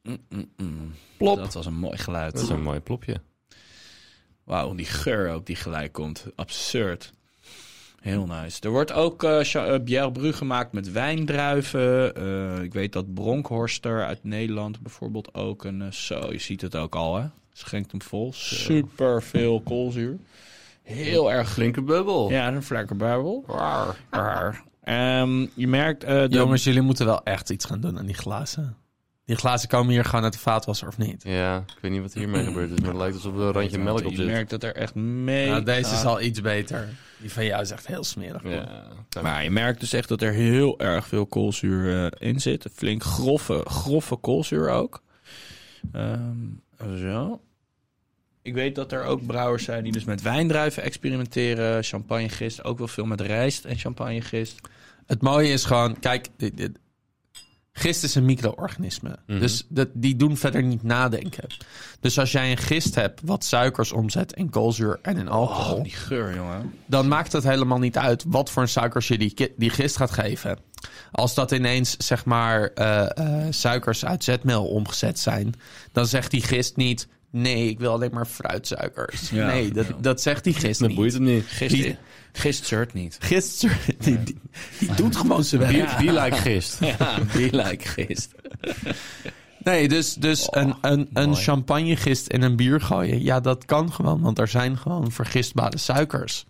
[SPEAKER 5] mm, mm, mm. Dat was een mooi geluid.
[SPEAKER 3] Dat is een mooi plopje.
[SPEAKER 5] Wauw, die geur ook die gelijk komt. Absurd. Heel nice. Er wordt ook eh cha- eh, Bière Bru gemaakt met wijndruiven. Eh, ik weet dat Bronkhorster uit Nederland bijvoorbeeld ook een... eh, zo, je ziet het ook al, hè? Schenkt hem vol. Super veel koolzuur. Heel erg...
[SPEAKER 3] Flinke bubbel.
[SPEAKER 5] Ja, een vlekkenbuibel. Raar. Ehm, je merkt... eh, de-
[SPEAKER 4] Jongens, jullie moeten wel echt iets gaan doen aan die glazen. Die glazen komen hier gewoon uit de vaatwasser of niet?
[SPEAKER 3] Ja, ik weet niet wat hiermee gebeurd is, maar het lijkt alsof er een randje melk op
[SPEAKER 5] je
[SPEAKER 3] zit.
[SPEAKER 5] merkt dat er echt mee...
[SPEAKER 4] Nou, deze is al iets beter. Die van jou is echt heel smerig.
[SPEAKER 3] Ja.
[SPEAKER 5] Maar je merkt dus echt dat er heel erg veel koolzuur eh, in zit. Flink grove, grove koolzuur ook. Ehm, zo. Ik weet dat er ook brouwers zijn die dus met wijndruiven experimenteren. Champagnegist, ook wel veel met rijst en champagnegist.
[SPEAKER 4] Het mooie is gewoon, kijk, dit, dit- gist is een micro-organisme.
[SPEAKER 3] Mhm.
[SPEAKER 4] Dus dat, die doen verder niet nadenken. Dus als jij een gist hebt wat suikers omzet in koolzuur en in alcohol,
[SPEAKER 3] Oh,
[SPEAKER 5] Die geur, jongen.
[SPEAKER 4] dan maakt het helemaal niet uit wat voor een suikers je die, ki- die gist gaat geven. Als dat ineens, zeg maar, eh, eh, suikers uit zetmeel omgezet zijn, dan zegt die gist niet, nee, ik wil alleen maar fruitsuikers.
[SPEAKER 5] Ja,
[SPEAKER 4] nee, dat,
[SPEAKER 5] ja.
[SPEAKER 4] dat zegt die gist
[SPEAKER 3] Dat
[SPEAKER 4] niet.
[SPEAKER 3] boeit hem niet.
[SPEAKER 5] Gist, gist zeurt niet.
[SPEAKER 4] Gist, die, die, die doet gewoon zijn werk.
[SPEAKER 3] Die lijkt gist.
[SPEAKER 5] Ja, die lijkt gist.
[SPEAKER 4] Nee, dus, dus een, een, een champagnegist in een bier gooien. Ja, dat kan gewoon, want er zijn gewoon vergistbare suikers.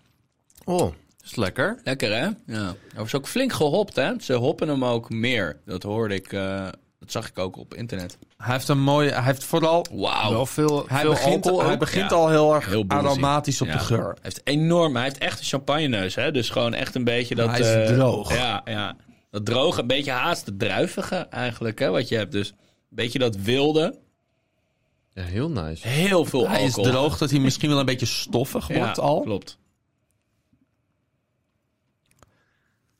[SPEAKER 3] Oh, is lekker.
[SPEAKER 5] Lekker, hè? Ja. Er was ook flink gehopt, hè? Ze hoppen hem ook meer. Dat hoorde ik, eh, dat zag ik ook op internet.
[SPEAKER 4] Hij heeft een mooie, hij heeft vooral.
[SPEAKER 5] Wauw.
[SPEAKER 3] Wel veel,
[SPEAKER 4] Hij
[SPEAKER 3] veel
[SPEAKER 4] begint,
[SPEAKER 3] alcohol
[SPEAKER 4] hij
[SPEAKER 3] ook.
[SPEAKER 4] begint
[SPEAKER 5] Ja.
[SPEAKER 4] al heel erg
[SPEAKER 5] Heel boozy.
[SPEAKER 4] aromatisch op
[SPEAKER 5] Ja.
[SPEAKER 4] de geur.
[SPEAKER 5] Hij heeft enorm, hij heeft echt een champagneneus, hè? Dus gewoon echt een beetje dat.
[SPEAKER 4] Maar hij is
[SPEAKER 5] eh,
[SPEAKER 4] droog.
[SPEAKER 5] Ja, ja. Dat droge, een beetje haast de druivige eigenlijk, hè? Wat je hebt, dus een beetje dat wilde.
[SPEAKER 3] Ja, heel nice.
[SPEAKER 5] Heel veel
[SPEAKER 4] Hij is
[SPEAKER 5] alcohol.
[SPEAKER 4] droog dat hij misschien wel een beetje stoffig
[SPEAKER 5] Ja,
[SPEAKER 4] wordt al.
[SPEAKER 5] Klopt.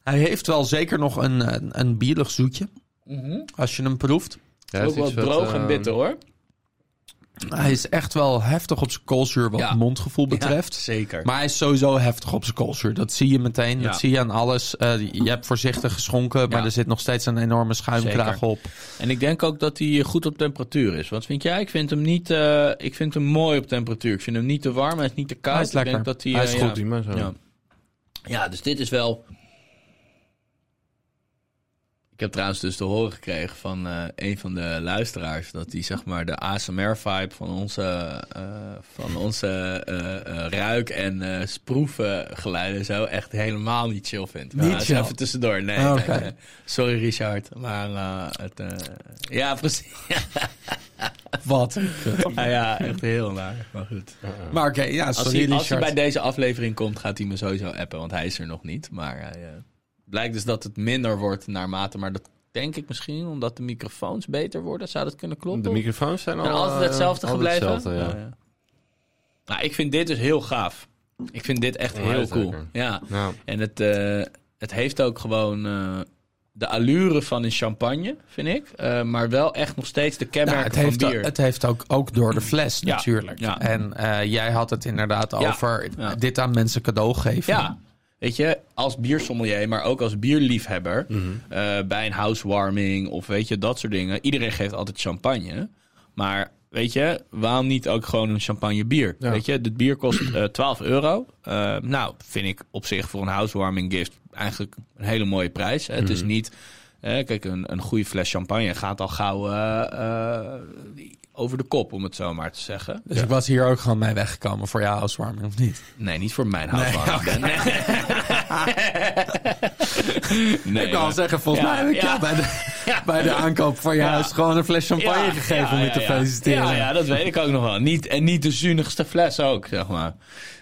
[SPEAKER 4] Hij heeft wel zeker nog een, een, een bierig zoetje.
[SPEAKER 5] Mhm.
[SPEAKER 4] Als je hem proeft.
[SPEAKER 3] Ja,
[SPEAKER 5] Ook wel droog
[SPEAKER 3] eh, ehm,
[SPEAKER 5] en bitter, hoor.
[SPEAKER 4] Hij is echt wel heftig op zijn koolzuur wat
[SPEAKER 5] Ja.
[SPEAKER 4] mondgevoel betreft.
[SPEAKER 5] Ja, zeker.
[SPEAKER 4] Maar hij is sowieso heftig op zijn koolzuur. Dat zie je meteen.
[SPEAKER 5] Ja.
[SPEAKER 4] Dat zie je aan alles. Eh, je hebt voorzichtig geschonken, maar
[SPEAKER 5] Ja.
[SPEAKER 4] er zit nog steeds een enorme schuimkraag
[SPEAKER 5] Zeker.
[SPEAKER 4] op.
[SPEAKER 5] En ik denk ook dat hij goed op temperatuur is. Wat vind jij? Ik vind hem niet. eh, ik vind hem mooi op temperatuur. Ik vind hem niet te warm, hij is niet te koud.
[SPEAKER 4] Hij is lekker.
[SPEAKER 5] Ik denk dat hij,
[SPEAKER 3] Hij is
[SPEAKER 5] eh,
[SPEAKER 3] goed,
[SPEAKER 5] ja.
[SPEAKER 3] prima zo.
[SPEAKER 5] Ja. ja, dus dit is wel. Ik heb trouwens dus te horen gekregen van eh, een van de luisteraars dat hij zeg maar de ASMR-vibe van onze, eh, van onze eh, eh, ruik- en eh sproeven geluiden zo echt helemaal niet chill vindt. Maar
[SPEAKER 4] Niet
[SPEAKER 5] dat is
[SPEAKER 4] chill.
[SPEAKER 5] Even tussendoor, nee.
[SPEAKER 4] Ah,
[SPEAKER 5] nee,
[SPEAKER 4] oké.
[SPEAKER 5] nee. Sorry Richard, maar eh, het, eh, ja precies.
[SPEAKER 4] Wat?
[SPEAKER 5] Ja, ja, echt heel naar. Maar goed.
[SPEAKER 4] maar oké, ja,
[SPEAKER 5] Als,
[SPEAKER 4] sorry
[SPEAKER 5] hij, als hij
[SPEAKER 4] Richard.
[SPEAKER 5] bij deze aflevering komt, gaat hij me sowieso appen, want hij is er nog niet. Maar hij, eh, blijkt dus dat het minder wordt naarmate, maar dat denk ik misschien omdat de microfoons beter worden. Zou dat kunnen kloppen?
[SPEAKER 3] De microfoons zijn al
[SPEAKER 5] En altijd hetzelfde
[SPEAKER 3] eh, altijd
[SPEAKER 5] gebleven?
[SPEAKER 3] hetzelfde, ja.
[SPEAKER 5] Oh, ja. Nou, ik vind dit dus heel gaaf. Ik vind dit echt
[SPEAKER 3] Ja,
[SPEAKER 5] heel cool.
[SPEAKER 3] zeker.
[SPEAKER 5] Ja.
[SPEAKER 3] Nou,
[SPEAKER 5] En het, eh, het heeft ook gewoon eh, de allure van een champagne, vind ik. eh, maar wel echt nog steeds de
[SPEAKER 4] Nou,
[SPEAKER 5] kenmerken
[SPEAKER 4] het, heeft,
[SPEAKER 5] van bier.
[SPEAKER 4] het heeft ook, ook door de fles
[SPEAKER 5] Ja,
[SPEAKER 4] natuurlijk.
[SPEAKER 5] ja.
[SPEAKER 4] En eh, jij had het inderdaad
[SPEAKER 5] Ja,
[SPEAKER 4] over
[SPEAKER 5] ja.
[SPEAKER 4] dit aan mensen cadeau geven.
[SPEAKER 5] Ja. Weet je, als biersommelier, maar ook als bierliefhebber. eh, bij een housewarming of weet je, dat soort dingen. Iedereen geeft altijd champagne. Maar weet je, waarom niet ook gewoon een champagne bier? Weet je, dit bier kost eh, 12 euro. Eh, nou, vind ik op zich voor een housewarming gift eigenlijk een hele mooie prijs. Het is niet... eh, kijk, een, een goede fles champagne gaat al gauw eh, eh, over de kop, om het zo maar te zeggen.
[SPEAKER 4] Dus ik was hier ook gewoon mee weggekomen voor jou als of niet?
[SPEAKER 5] Nee, niet voor mijn housewarming. Nee, nee.
[SPEAKER 4] ik kan
[SPEAKER 5] maar-
[SPEAKER 4] al zeggen, volgens
[SPEAKER 5] Ja,
[SPEAKER 4] mij heb ik
[SPEAKER 5] ja.
[SPEAKER 4] jou bij de, bij de aankoop van je huis gewoon een fles champagne
[SPEAKER 5] Ja,
[SPEAKER 4] gegeven
[SPEAKER 5] ja,
[SPEAKER 4] om je
[SPEAKER 5] ja,
[SPEAKER 4] te
[SPEAKER 5] ja.
[SPEAKER 4] feliciteren.
[SPEAKER 5] Ja, ja, dat weet ik ook nog wel. Niet, en niet de zuinigste fles ook, zeg maar.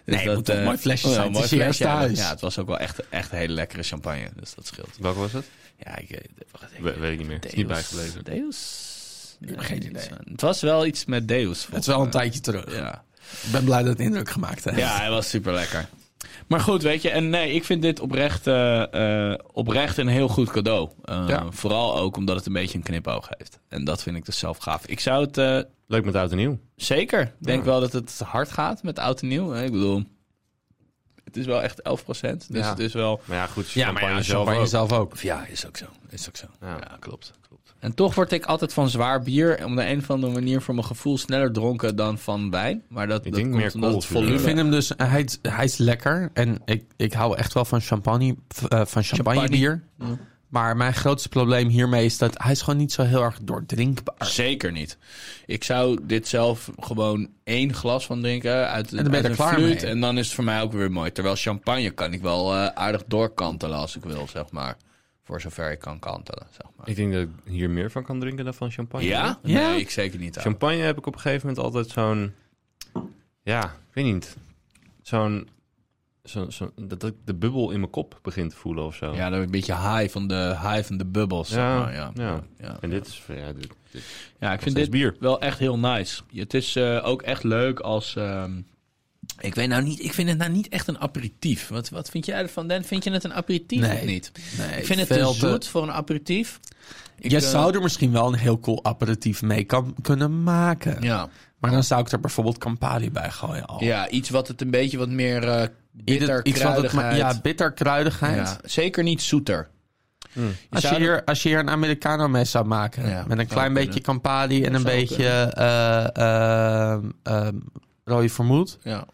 [SPEAKER 5] Dus
[SPEAKER 4] Nee, het moet toch
[SPEAKER 5] eh,
[SPEAKER 4] mooi flesje
[SPEAKER 5] ja,
[SPEAKER 4] zijn.
[SPEAKER 5] een
[SPEAKER 4] Het is je
[SPEAKER 5] flesje,
[SPEAKER 4] eerste
[SPEAKER 5] ja,
[SPEAKER 4] huis.
[SPEAKER 5] Ja, het was ook wel echt, echt hele lekkere champagne, dus dat scheelt.
[SPEAKER 3] Welke was het?
[SPEAKER 5] Ja, ik eh, wacht even.
[SPEAKER 3] We- weet ik niet meer. Het is niet
[SPEAKER 5] Deus-
[SPEAKER 3] bijgebleven.
[SPEAKER 5] Deus? Nee,
[SPEAKER 4] geen idee.
[SPEAKER 5] iets van- Het was wel iets met Deus.
[SPEAKER 4] Het is
[SPEAKER 5] volgens
[SPEAKER 4] wel een
[SPEAKER 5] mij.
[SPEAKER 4] tijdje terug.
[SPEAKER 5] Ja.
[SPEAKER 4] Ik ben blij dat het indruk gemaakt heeft.
[SPEAKER 5] Ja, hij was super lekker. Maar goed, weet je, en nee, ik vind dit oprecht, eh, eh, oprecht een heel goed cadeau. Eh,
[SPEAKER 4] Ja.
[SPEAKER 5] Vooral ook omdat het een beetje een knipoog heeft. En dat vind ik dus zelf gaaf. Ik zou het eh,
[SPEAKER 3] Leuk met oud en nieuw.
[SPEAKER 5] zeker, ik denk wel dat het hard gaat met oud en nieuw. Eh, Ik bedoel, het is wel echt 11 procent. Dus
[SPEAKER 3] Ja.
[SPEAKER 5] het is wel.
[SPEAKER 3] Maar ja, goed.
[SPEAKER 4] Ja, maar ja, champagne zelf ook.
[SPEAKER 5] Ja, is ook zo. Is ook zo.
[SPEAKER 3] Ja.
[SPEAKER 5] Ja, klopt. klopt. En toch word ik altijd van zwaar bier, om de een of andere manier voor mijn gevoel, sneller dronken dan van wijn. Maar dat, dat
[SPEAKER 3] denk
[SPEAKER 5] komt
[SPEAKER 3] meer
[SPEAKER 5] omdat het
[SPEAKER 3] koolzuur.
[SPEAKER 5] volume...
[SPEAKER 4] Ik vind hem dus, hij, is- hij is lekker. En ik, ik hou echt wel van champagne, v- eh, van champagne bier. Maar mijn grootste probleem hiermee is dat hij is gewoon niet zo heel erg doordrinkbaar.
[SPEAKER 5] Zeker niet. Ik zou dit zelf gewoon één glas van drinken uit,
[SPEAKER 4] dan ben je
[SPEAKER 5] uit
[SPEAKER 4] er
[SPEAKER 5] een
[SPEAKER 4] klaar
[SPEAKER 5] fluit.
[SPEAKER 4] mee.
[SPEAKER 5] En dan is het voor mij ook weer mooi. Terwijl champagne kan ik wel eh, aardig doorkantelen als ik wil, zeg maar. Voor zover ik kan kantelen, zeg maar.
[SPEAKER 3] Ik denk dat ik hier meer van kan drinken dan van champagne.
[SPEAKER 5] Ja?
[SPEAKER 4] Ja.
[SPEAKER 5] Nee, ik zeker niet. ouwe.
[SPEAKER 3] Champagne heb ik op een gegeven moment altijd zo'n... Ja, ik weet niet. Zo'n... Zo, zo, dat ik de bubbel in mijn kop begin te voelen of zo.
[SPEAKER 5] Ja, dan een beetje high van de, high van de bubbels, zeg
[SPEAKER 3] Ja,
[SPEAKER 5] maar. Ja,
[SPEAKER 3] ja.
[SPEAKER 5] ja.
[SPEAKER 3] En dit is... Ja, dit,
[SPEAKER 5] Ja, ik vind
[SPEAKER 3] steeds
[SPEAKER 5] dit
[SPEAKER 3] bier.
[SPEAKER 5] wel echt heel nice. Het is eh, ook echt leuk als... ehm, ik weet nou niet, ik vind het nou niet echt een aperitief. Wat, wat vind jij ervan, Dan? Vind je het een aperitief
[SPEAKER 4] Nee.
[SPEAKER 5] of niet?
[SPEAKER 4] Nee,
[SPEAKER 5] Ik vind het
[SPEAKER 4] veel
[SPEAKER 5] te zoet voor een aperitief.
[SPEAKER 4] je
[SPEAKER 5] eh,
[SPEAKER 4] zou er misschien wel een heel cool aperitief mee kan, kunnen maken.
[SPEAKER 5] Ja.
[SPEAKER 4] Maar dan zou ik er bijvoorbeeld Campari bij gooien. Al.
[SPEAKER 5] ja, iets wat het een beetje wat meer eh
[SPEAKER 4] Ieder-
[SPEAKER 5] bitter,
[SPEAKER 4] iets wat het ma-
[SPEAKER 5] kruidigheid.
[SPEAKER 4] Ja, bitterkruidigheid.
[SPEAKER 5] Ja, zeker niet zoeter. Je
[SPEAKER 4] Als, je
[SPEAKER 5] zou
[SPEAKER 4] hier, als je hier een Americano mee zou maken.
[SPEAKER 5] Ja,
[SPEAKER 4] met een
[SPEAKER 5] zou
[SPEAKER 4] klein beetje
[SPEAKER 5] kunnen.
[SPEAKER 4] Campari en een
[SPEAKER 5] zou
[SPEAKER 4] beetje eh eh, ehm, rode vermoed.
[SPEAKER 5] Ja,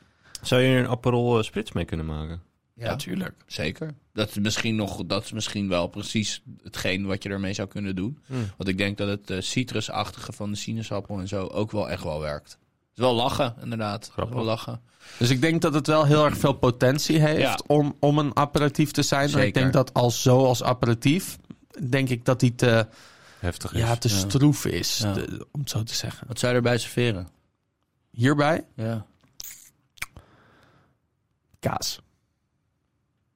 [SPEAKER 3] Zou je er een Aperol eh, Spritz mee kunnen maken?
[SPEAKER 5] Ja,
[SPEAKER 4] tuurlijk.
[SPEAKER 5] zeker. Dat is, misschien nog, dat is misschien wel precies hetgeen wat je ermee zou kunnen doen.
[SPEAKER 4] Hmm.
[SPEAKER 5] Want ik denk dat het eh, citrusachtige van de sinaasappel en zo ook wel echt wel werkt. Het is wel lachen, inderdaad.
[SPEAKER 3] Grappig.
[SPEAKER 5] Wel lachen.
[SPEAKER 4] Dus ik denk dat het wel heel erg veel potentie heeft
[SPEAKER 5] Ja.
[SPEAKER 4] om, om een aperitief te zijn. Maar ik
[SPEAKER 5] Zeker.
[SPEAKER 4] denk dat als zo als aperitief, denk ik dat die te,
[SPEAKER 3] Heftig is.
[SPEAKER 4] ja, te stroef is.
[SPEAKER 5] Ja.
[SPEAKER 4] de- om het zo te zeggen.
[SPEAKER 5] Wat zou je erbij serveren?
[SPEAKER 4] Hierbij
[SPEAKER 5] Ja.
[SPEAKER 4] kaas.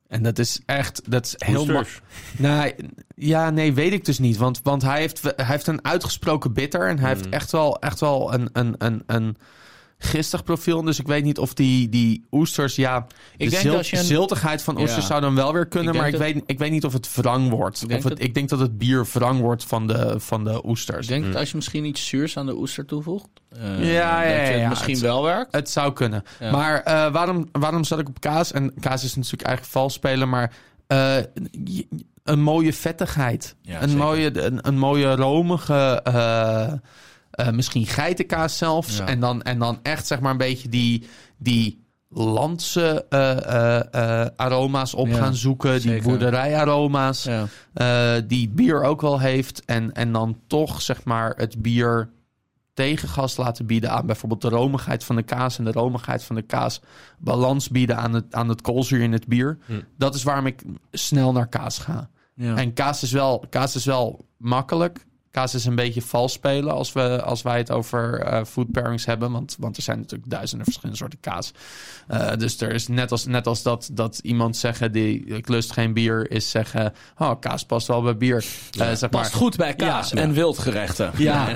[SPEAKER 4] En dat is echt, dat is heel ma-
[SPEAKER 3] Oesters.
[SPEAKER 4] Nou, ja, nee, weet ik dus niet. Want, want hij, heeft, hij heeft een uitgesproken bitter. En hij heeft
[SPEAKER 5] Mm.
[SPEAKER 4] echt wel, echt wel een, een, een, een gistig profiel. Dus ik weet niet of die, die oesters... Ja, de
[SPEAKER 5] denk
[SPEAKER 4] zilt-
[SPEAKER 5] als je een-
[SPEAKER 4] ziltigheid van oesters
[SPEAKER 5] Ja.
[SPEAKER 4] zou dan wel weer kunnen.
[SPEAKER 5] Ik
[SPEAKER 4] maar ik,
[SPEAKER 5] denk
[SPEAKER 4] weet, ik weet niet of het wrang
[SPEAKER 5] Ik
[SPEAKER 4] wordt. Ik, of
[SPEAKER 5] denk
[SPEAKER 4] het,
[SPEAKER 5] dat-
[SPEAKER 4] ik denk dat het bier wrang wordt van de, van de oesters.
[SPEAKER 5] Ik denk dat als je misschien iets zuurs aan de oester toevoegt, eh,
[SPEAKER 4] Hmm. Ja, ja,
[SPEAKER 5] dat
[SPEAKER 4] ja,
[SPEAKER 5] het
[SPEAKER 4] ja.
[SPEAKER 5] misschien
[SPEAKER 4] Het-
[SPEAKER 5] wel werkt.
[SPEAKER 4] Het zou kunnen.
[SPEAKER 5] Ja.
[SPEAKER 4] Maar eh, waarom, waarom zat ik op kaas? En kaas is natuurlijk eigenlijk vals spelen, maar eh, je- een mooie vettigheid.
[SPEAKER 5] Ja,
[SPEAKER 4] een,
[SPEAKER 5] zeker.
[SPEAKER 4] mooie, een, een mooie romige, eh, eh, misschien geitenkaas zelfs.
[SPEAKER 5] Ja.
[SPEAKER 4] En, dan, en dan echt zeg maar een beetje die, die landse eh, eh, eh, aroma's op
[SPEAKER 5] Ja,
[SPEAKER 4] gaan zoeken. Die
[SPEAKER 5] zeker.
[SPEAKER 4] boerderijaroma's
[SPEAKER 5] Ja.
[SPEAKER 4] eh, die bier ook wel heeft. En, en dan toch zeg maar het bier tegengas laten bieden aan bijvoorbeeld de romigheid van de kaas en de romigheid van de kaas balans bieden aan het, aan het koolzuur in het bier. Dat is waarom ik snel naar kaas ga.
[SPEAKER 5] Ja.
[SPEAKER 4] En kaas is wel, kaas is wel makkelijk. kaas is een beetje vals spelen als, we, als wij het over eh, food pairings hebben. Want, want er zijn natuurlijk duizenden verschillende soorten kaas. Eh, dus er is net als, net als dat, dat iemand zeggen die ik lust geen bier, is zeggen: Oh, kaas past wel bij bier. Eh, zeg maar,
[SPEAKER 5] Past goed bij kaas
[SPEAKER 4] Ja.
[SPEAKER 5] en wildgerechten.
[SPEAKER 4] Ja,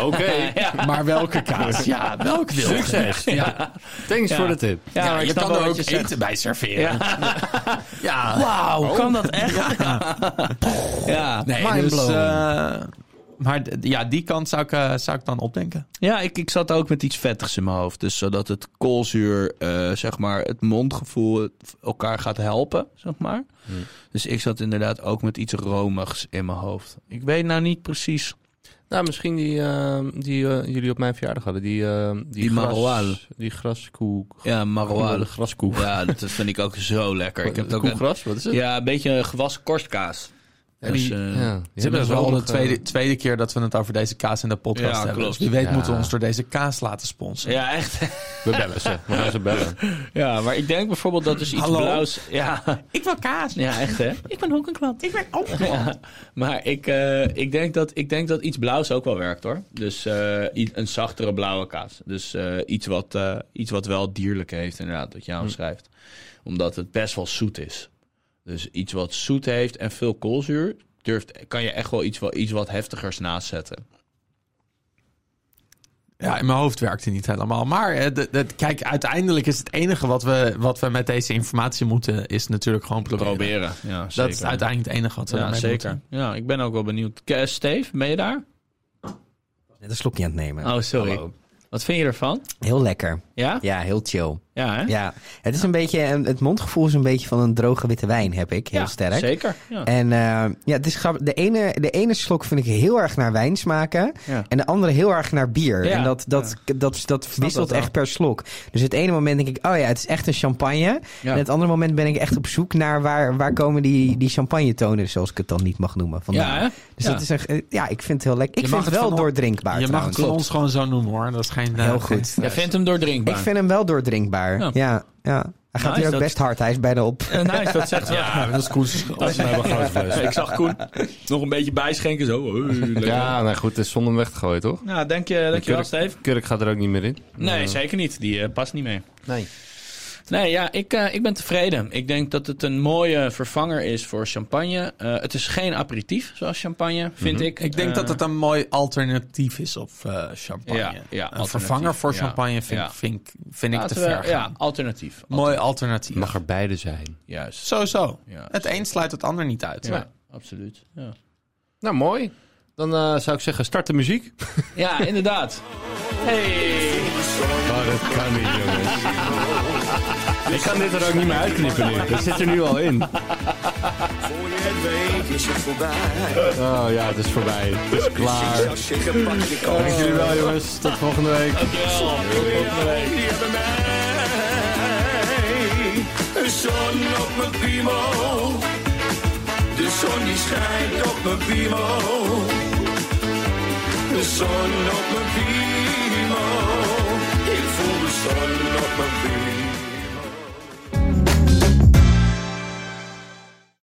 [SPEAKER 3] Oké,
[SPEAKER 4] maar welke kaas? Ja, welke wil
[SPEAKER 3] succes.
[SPEAKER 4] Ja,
[SPEAKER 3] Thanks voor de tip.
[SPEAKER 4] ja,
[SPEAKER 5] maar ik
[SPEAKER 4] je
[SPEAKER 5] snap
[SPEAKER 4] kan
[SPEAKER 5] wel
[SPEAKER 4] er ook
[SPEAKER 5] wat je zegt.
[SPEAKER 4] eten bij serveren. Ja,
[SPEAKER 5] Wauw, kan dat echt? Oh. Ja. Ja.
[SPEAKER 4] nee, dus, eh, maar d- ja, die kant zou ik, eh, zou ik dan opdenken.
[SPEAKER 5] Ja, ik, ik zat ook met iets vettigs in mijn hoofd. Dus zodat het koolzuur, eh, zeg maar, het mondgevoel het elkaar gaat helpen, zeg maar. Dus ik zat inderdaad ook met iets romigs in mijn hoofd. Ik weet nou niet precies.
[SPEAKER 9] Nou, misschien die, ehm, die eh, jullie op mijn verjaardag hadden. Die, ehm, die,
[SPEAKER 5] Die
[SPEAKER 9] gras-
[SPEAKER 5] maroal.
[SPEAKER 9] Die graskoek.
[SPEAKER 5] Ja, maroilles.
[SPEAKER 9] graskoek.
[SPEAKER 5] Ja, dat vind ik ook zo lekker. Ik heb het ook een,
[SPEAKER 9] Koekgras, wat is het?
[SPEAKER 5] ja, een beetje een gewassen korstkaas. Dus, eh,
[SPEAKER 9] ja, die
[SPEAKER 4] Dit is
[SPEAKER 9] hebben
[SPEAKER 4] wel de
[SPEAKER 9] nog, eh,
[SPEAKER 4] tweede, tweede keer dat we het over deze kaas in de podcast
[SPEAKER 5] Ja,
[SPEAKER 4] hebben.
[SPEAKER 5] klopt.
[SPEAKER 4] Dus wie weet
[SPEAKER 9] Ja.
[SPEAKER 4] moeten we ons door deze kaas laten sponsoren.
[SPEAKER 5] ja, echt.
[SPEAKER 3] We bellen ze. We gaan ze bellen.
[SPEAKER 5] Ja, maar ik denk bijvoorbeeld dat is iets
[SPEAKER 4] Hallo?
[SPEAKER 5] blauws. Ja.
[SPEAKER 4] Ik wil kaas.
[SPEAKER 5] Ja, echt hè? ik ben ook een klant. Ik ben ook klant. Maar ik, eh, ik, denk dat, ik denk dat iets blauws ook wel werkt hoor. Dus eh, i- een zachtere blauwe kaas. Dus eh, iets, wat, eh, iets wat wel dierlijk heeft inderdaad, wat jij omschrijft. Omdat het best wel zoet is. Dus iets wat zoet heeft en veel koolzuur... Durft, kan je echt wel iets, wel iets wat heftigers naast zetten.
[SPEAKER 4] Ja, in mijn hoofd werkt het niet helemaal. Maar eh, de- de- kijk, uiteindelijk is het enige wat we, wat we met deze informatie moeten, is natuurlijk gewoon proberen.
[SPEAKER 5] Proberen. Ja, zeker.
[SPEAKER 4] Dat is uiteindelijk het enige wat we
[SPEAKER 5] ja,
[SPEAKER 4] daarmee
[SPEAKER 5] zeker.
[SPEAKER 4] moeten.
[SPEAKER 5] Ja, ik ben ook wel benieuwd. K- eh, Steve, ben je daar?
[SPEAKER 1] Net een slokje aan het nemen.
[SPEAKER 5] Oh, sorry. Wat vind je ervan?
[SPEAKER 1] Heel lekker.
[SPEAKER 5] Ja?
[SPEAKER 1] Ja, heel chill.
[SPEAKER 5] Ja, hè?
[SPEAKER 1] Ja, het is een beetje, een- het mondgevoel is een beetje van een droge witte wijn, heb ik. Heel
[SPEAKER 5] Ja,
[SPEAKER 1] sterk.
[SPEAKER 5] Zeker. Ja.
[SPEAKER 1] En eh, ja, het is grappig. De ene, de ene slok vind ik heel erg naar wijn smaken.
[SPEAKER 5] Ja.
[SPEAKER 1] En de andere heel erg naar bier.
[SPEAKER 5] Ja.
[SPEAKER 1] En dat, dat, dat, dat, wisselt
[SPEAKER 5] dat wel.
[SPEAKER 1] echt per slok. Dus het ene moment denk ik, oh ja, het is echt een champagne. En het andere moment ben ik echt op zoek naar waar, waar komen die, die champagne tonen, zoals ik het dan niet mag noemen.
[SPEAKER 5] Ja,
[SPEAKER 1] Vandaan.
[SPEAKER 5] hè?
[SPEAKER 1] dus
[SPEAKER 5] Ja.
[SPEAKER 1] dat is een, ge- ja, ik vind het heel lekker. Ik
[SPEAKER 4] Je mag
[SPEAKER 1] vind het
[SPEAKER 4] het
[SPEAKER 1] wel
[SPEAKER 4] van-
[SPEAKER 1] doordrinkbaar
[SPEAKER 4] Je mag het
[SPEAKER 1] trouwens.
[SPEAKER 4] van ons gewoon zo noemen hoor. Dat is geen. eh,
[SPEAKER 1] Heel
[SPEAKER 4] geen
[SPEAKER 1] goed.
[SPEAKER 5] Jij
[SPEAKER 4] stress.
[SPEAKER 5] vindt hem doordrinkbaar.
[SPEAKER 1] Ik vind hem wel doordrinkbaar.
[SPEAKER 5] Ja.
[SPEAKER 1] Ja, ja. Hij gaat
[SPEAKER 5] Nice,
[SPEAKER 1] hier ook
[SPEAKER 5] dat-
[SPEAKER 1] best hard. Hij is bijna op.
[SPEAKER 5] Eh, nice, dat zegt wel.
[SPEAKER 4] Ja, dat is koers.
[SPEAKER 5] Ik zag Koen nog een beetje bijschenken zo. Eh, lekker.
[SPEAKER 3] Ja, nou goed, het is zonder hem weggegooid, toch?
[SPEAKER 5] Nou, denk je, dankjewel
[SPEAKER 3] Kurk-
[SPEAKER 5] Steve.
[SPEAKER 3] Kurk gaat er ook niet meer in.
[SPEAKER 5] Nee, zeker niet. Die eh, past niet mee. Nee. Nee, ja, ik, eh, ik ben tevreden. Ik denk dat het een mooie vervanger is voor champagne. Eh, het is geen aperitief, zoals champagne, vind ik.
[SPEAKER 4] Mhm. Ik denk
[SPEAKER 5] Eh,
[SPEAKER 4] dat het een mooi alternatief is op eh, champagne.
[SPEAKER 5] Ja, ja,
[SPEAKER 4] een
[SPEAKER 5] alternatief,
[SPEAKER 4] vervanger voor
[SPEAKER 5] ja.
[SPEAKER 4] champagne vind,
[SPEAKER 5] Ja.
[SPEAKER 4] vind, ik- vind ik te
[SPEAKER 5] laten
[SPEAKER 4] ver.
[SPEAKER 5] we-
[SPEAKER 4] gaan.
[SPEAKER 5] Ja, alternatief.
[SPEAKER 4] Mooi alternatief.
[SPEAKER 3] Mag er beide zijn.
[SPEAKER 5] Juist.
[SPEAKER 4] Sowieso.
[SPEAKER 5] Ja.
[SPEAKER 4] Het een sluit het ander niet uit.
[SPEAKER 5] Ja, absoluut. Ja,
[SPEAKER 3] Nou, mooi. Dan eh, zou ik zeggen, start de muziek.
[SPEAKER 5] ja inderdaad.
[SPEAKER 3] Oh, dat kan niet, jongens. Ik kan dit er ook niet meer uitknippen nu. Dat zit er nu al in.
[SPEAKER 6] Voor je het weet is het voorbij.
[SPEAKER 3] Oh ja, het is voorbij. Het is
[SPEAKER 6] Ik
[SPEAKER 3] klaar.
[SPEAKER 6] zou zeggen, pak je kans.
[SPEAKER 3] Dank jullie wel, jongens. Tot volgende week.
[SPEAKER 6] Jullie hebben mij. Een zon op mijn piemel. De zon die schijnt op mijn piemel. De zon op mijn piemel. Ik voel de zon op mijn piemel.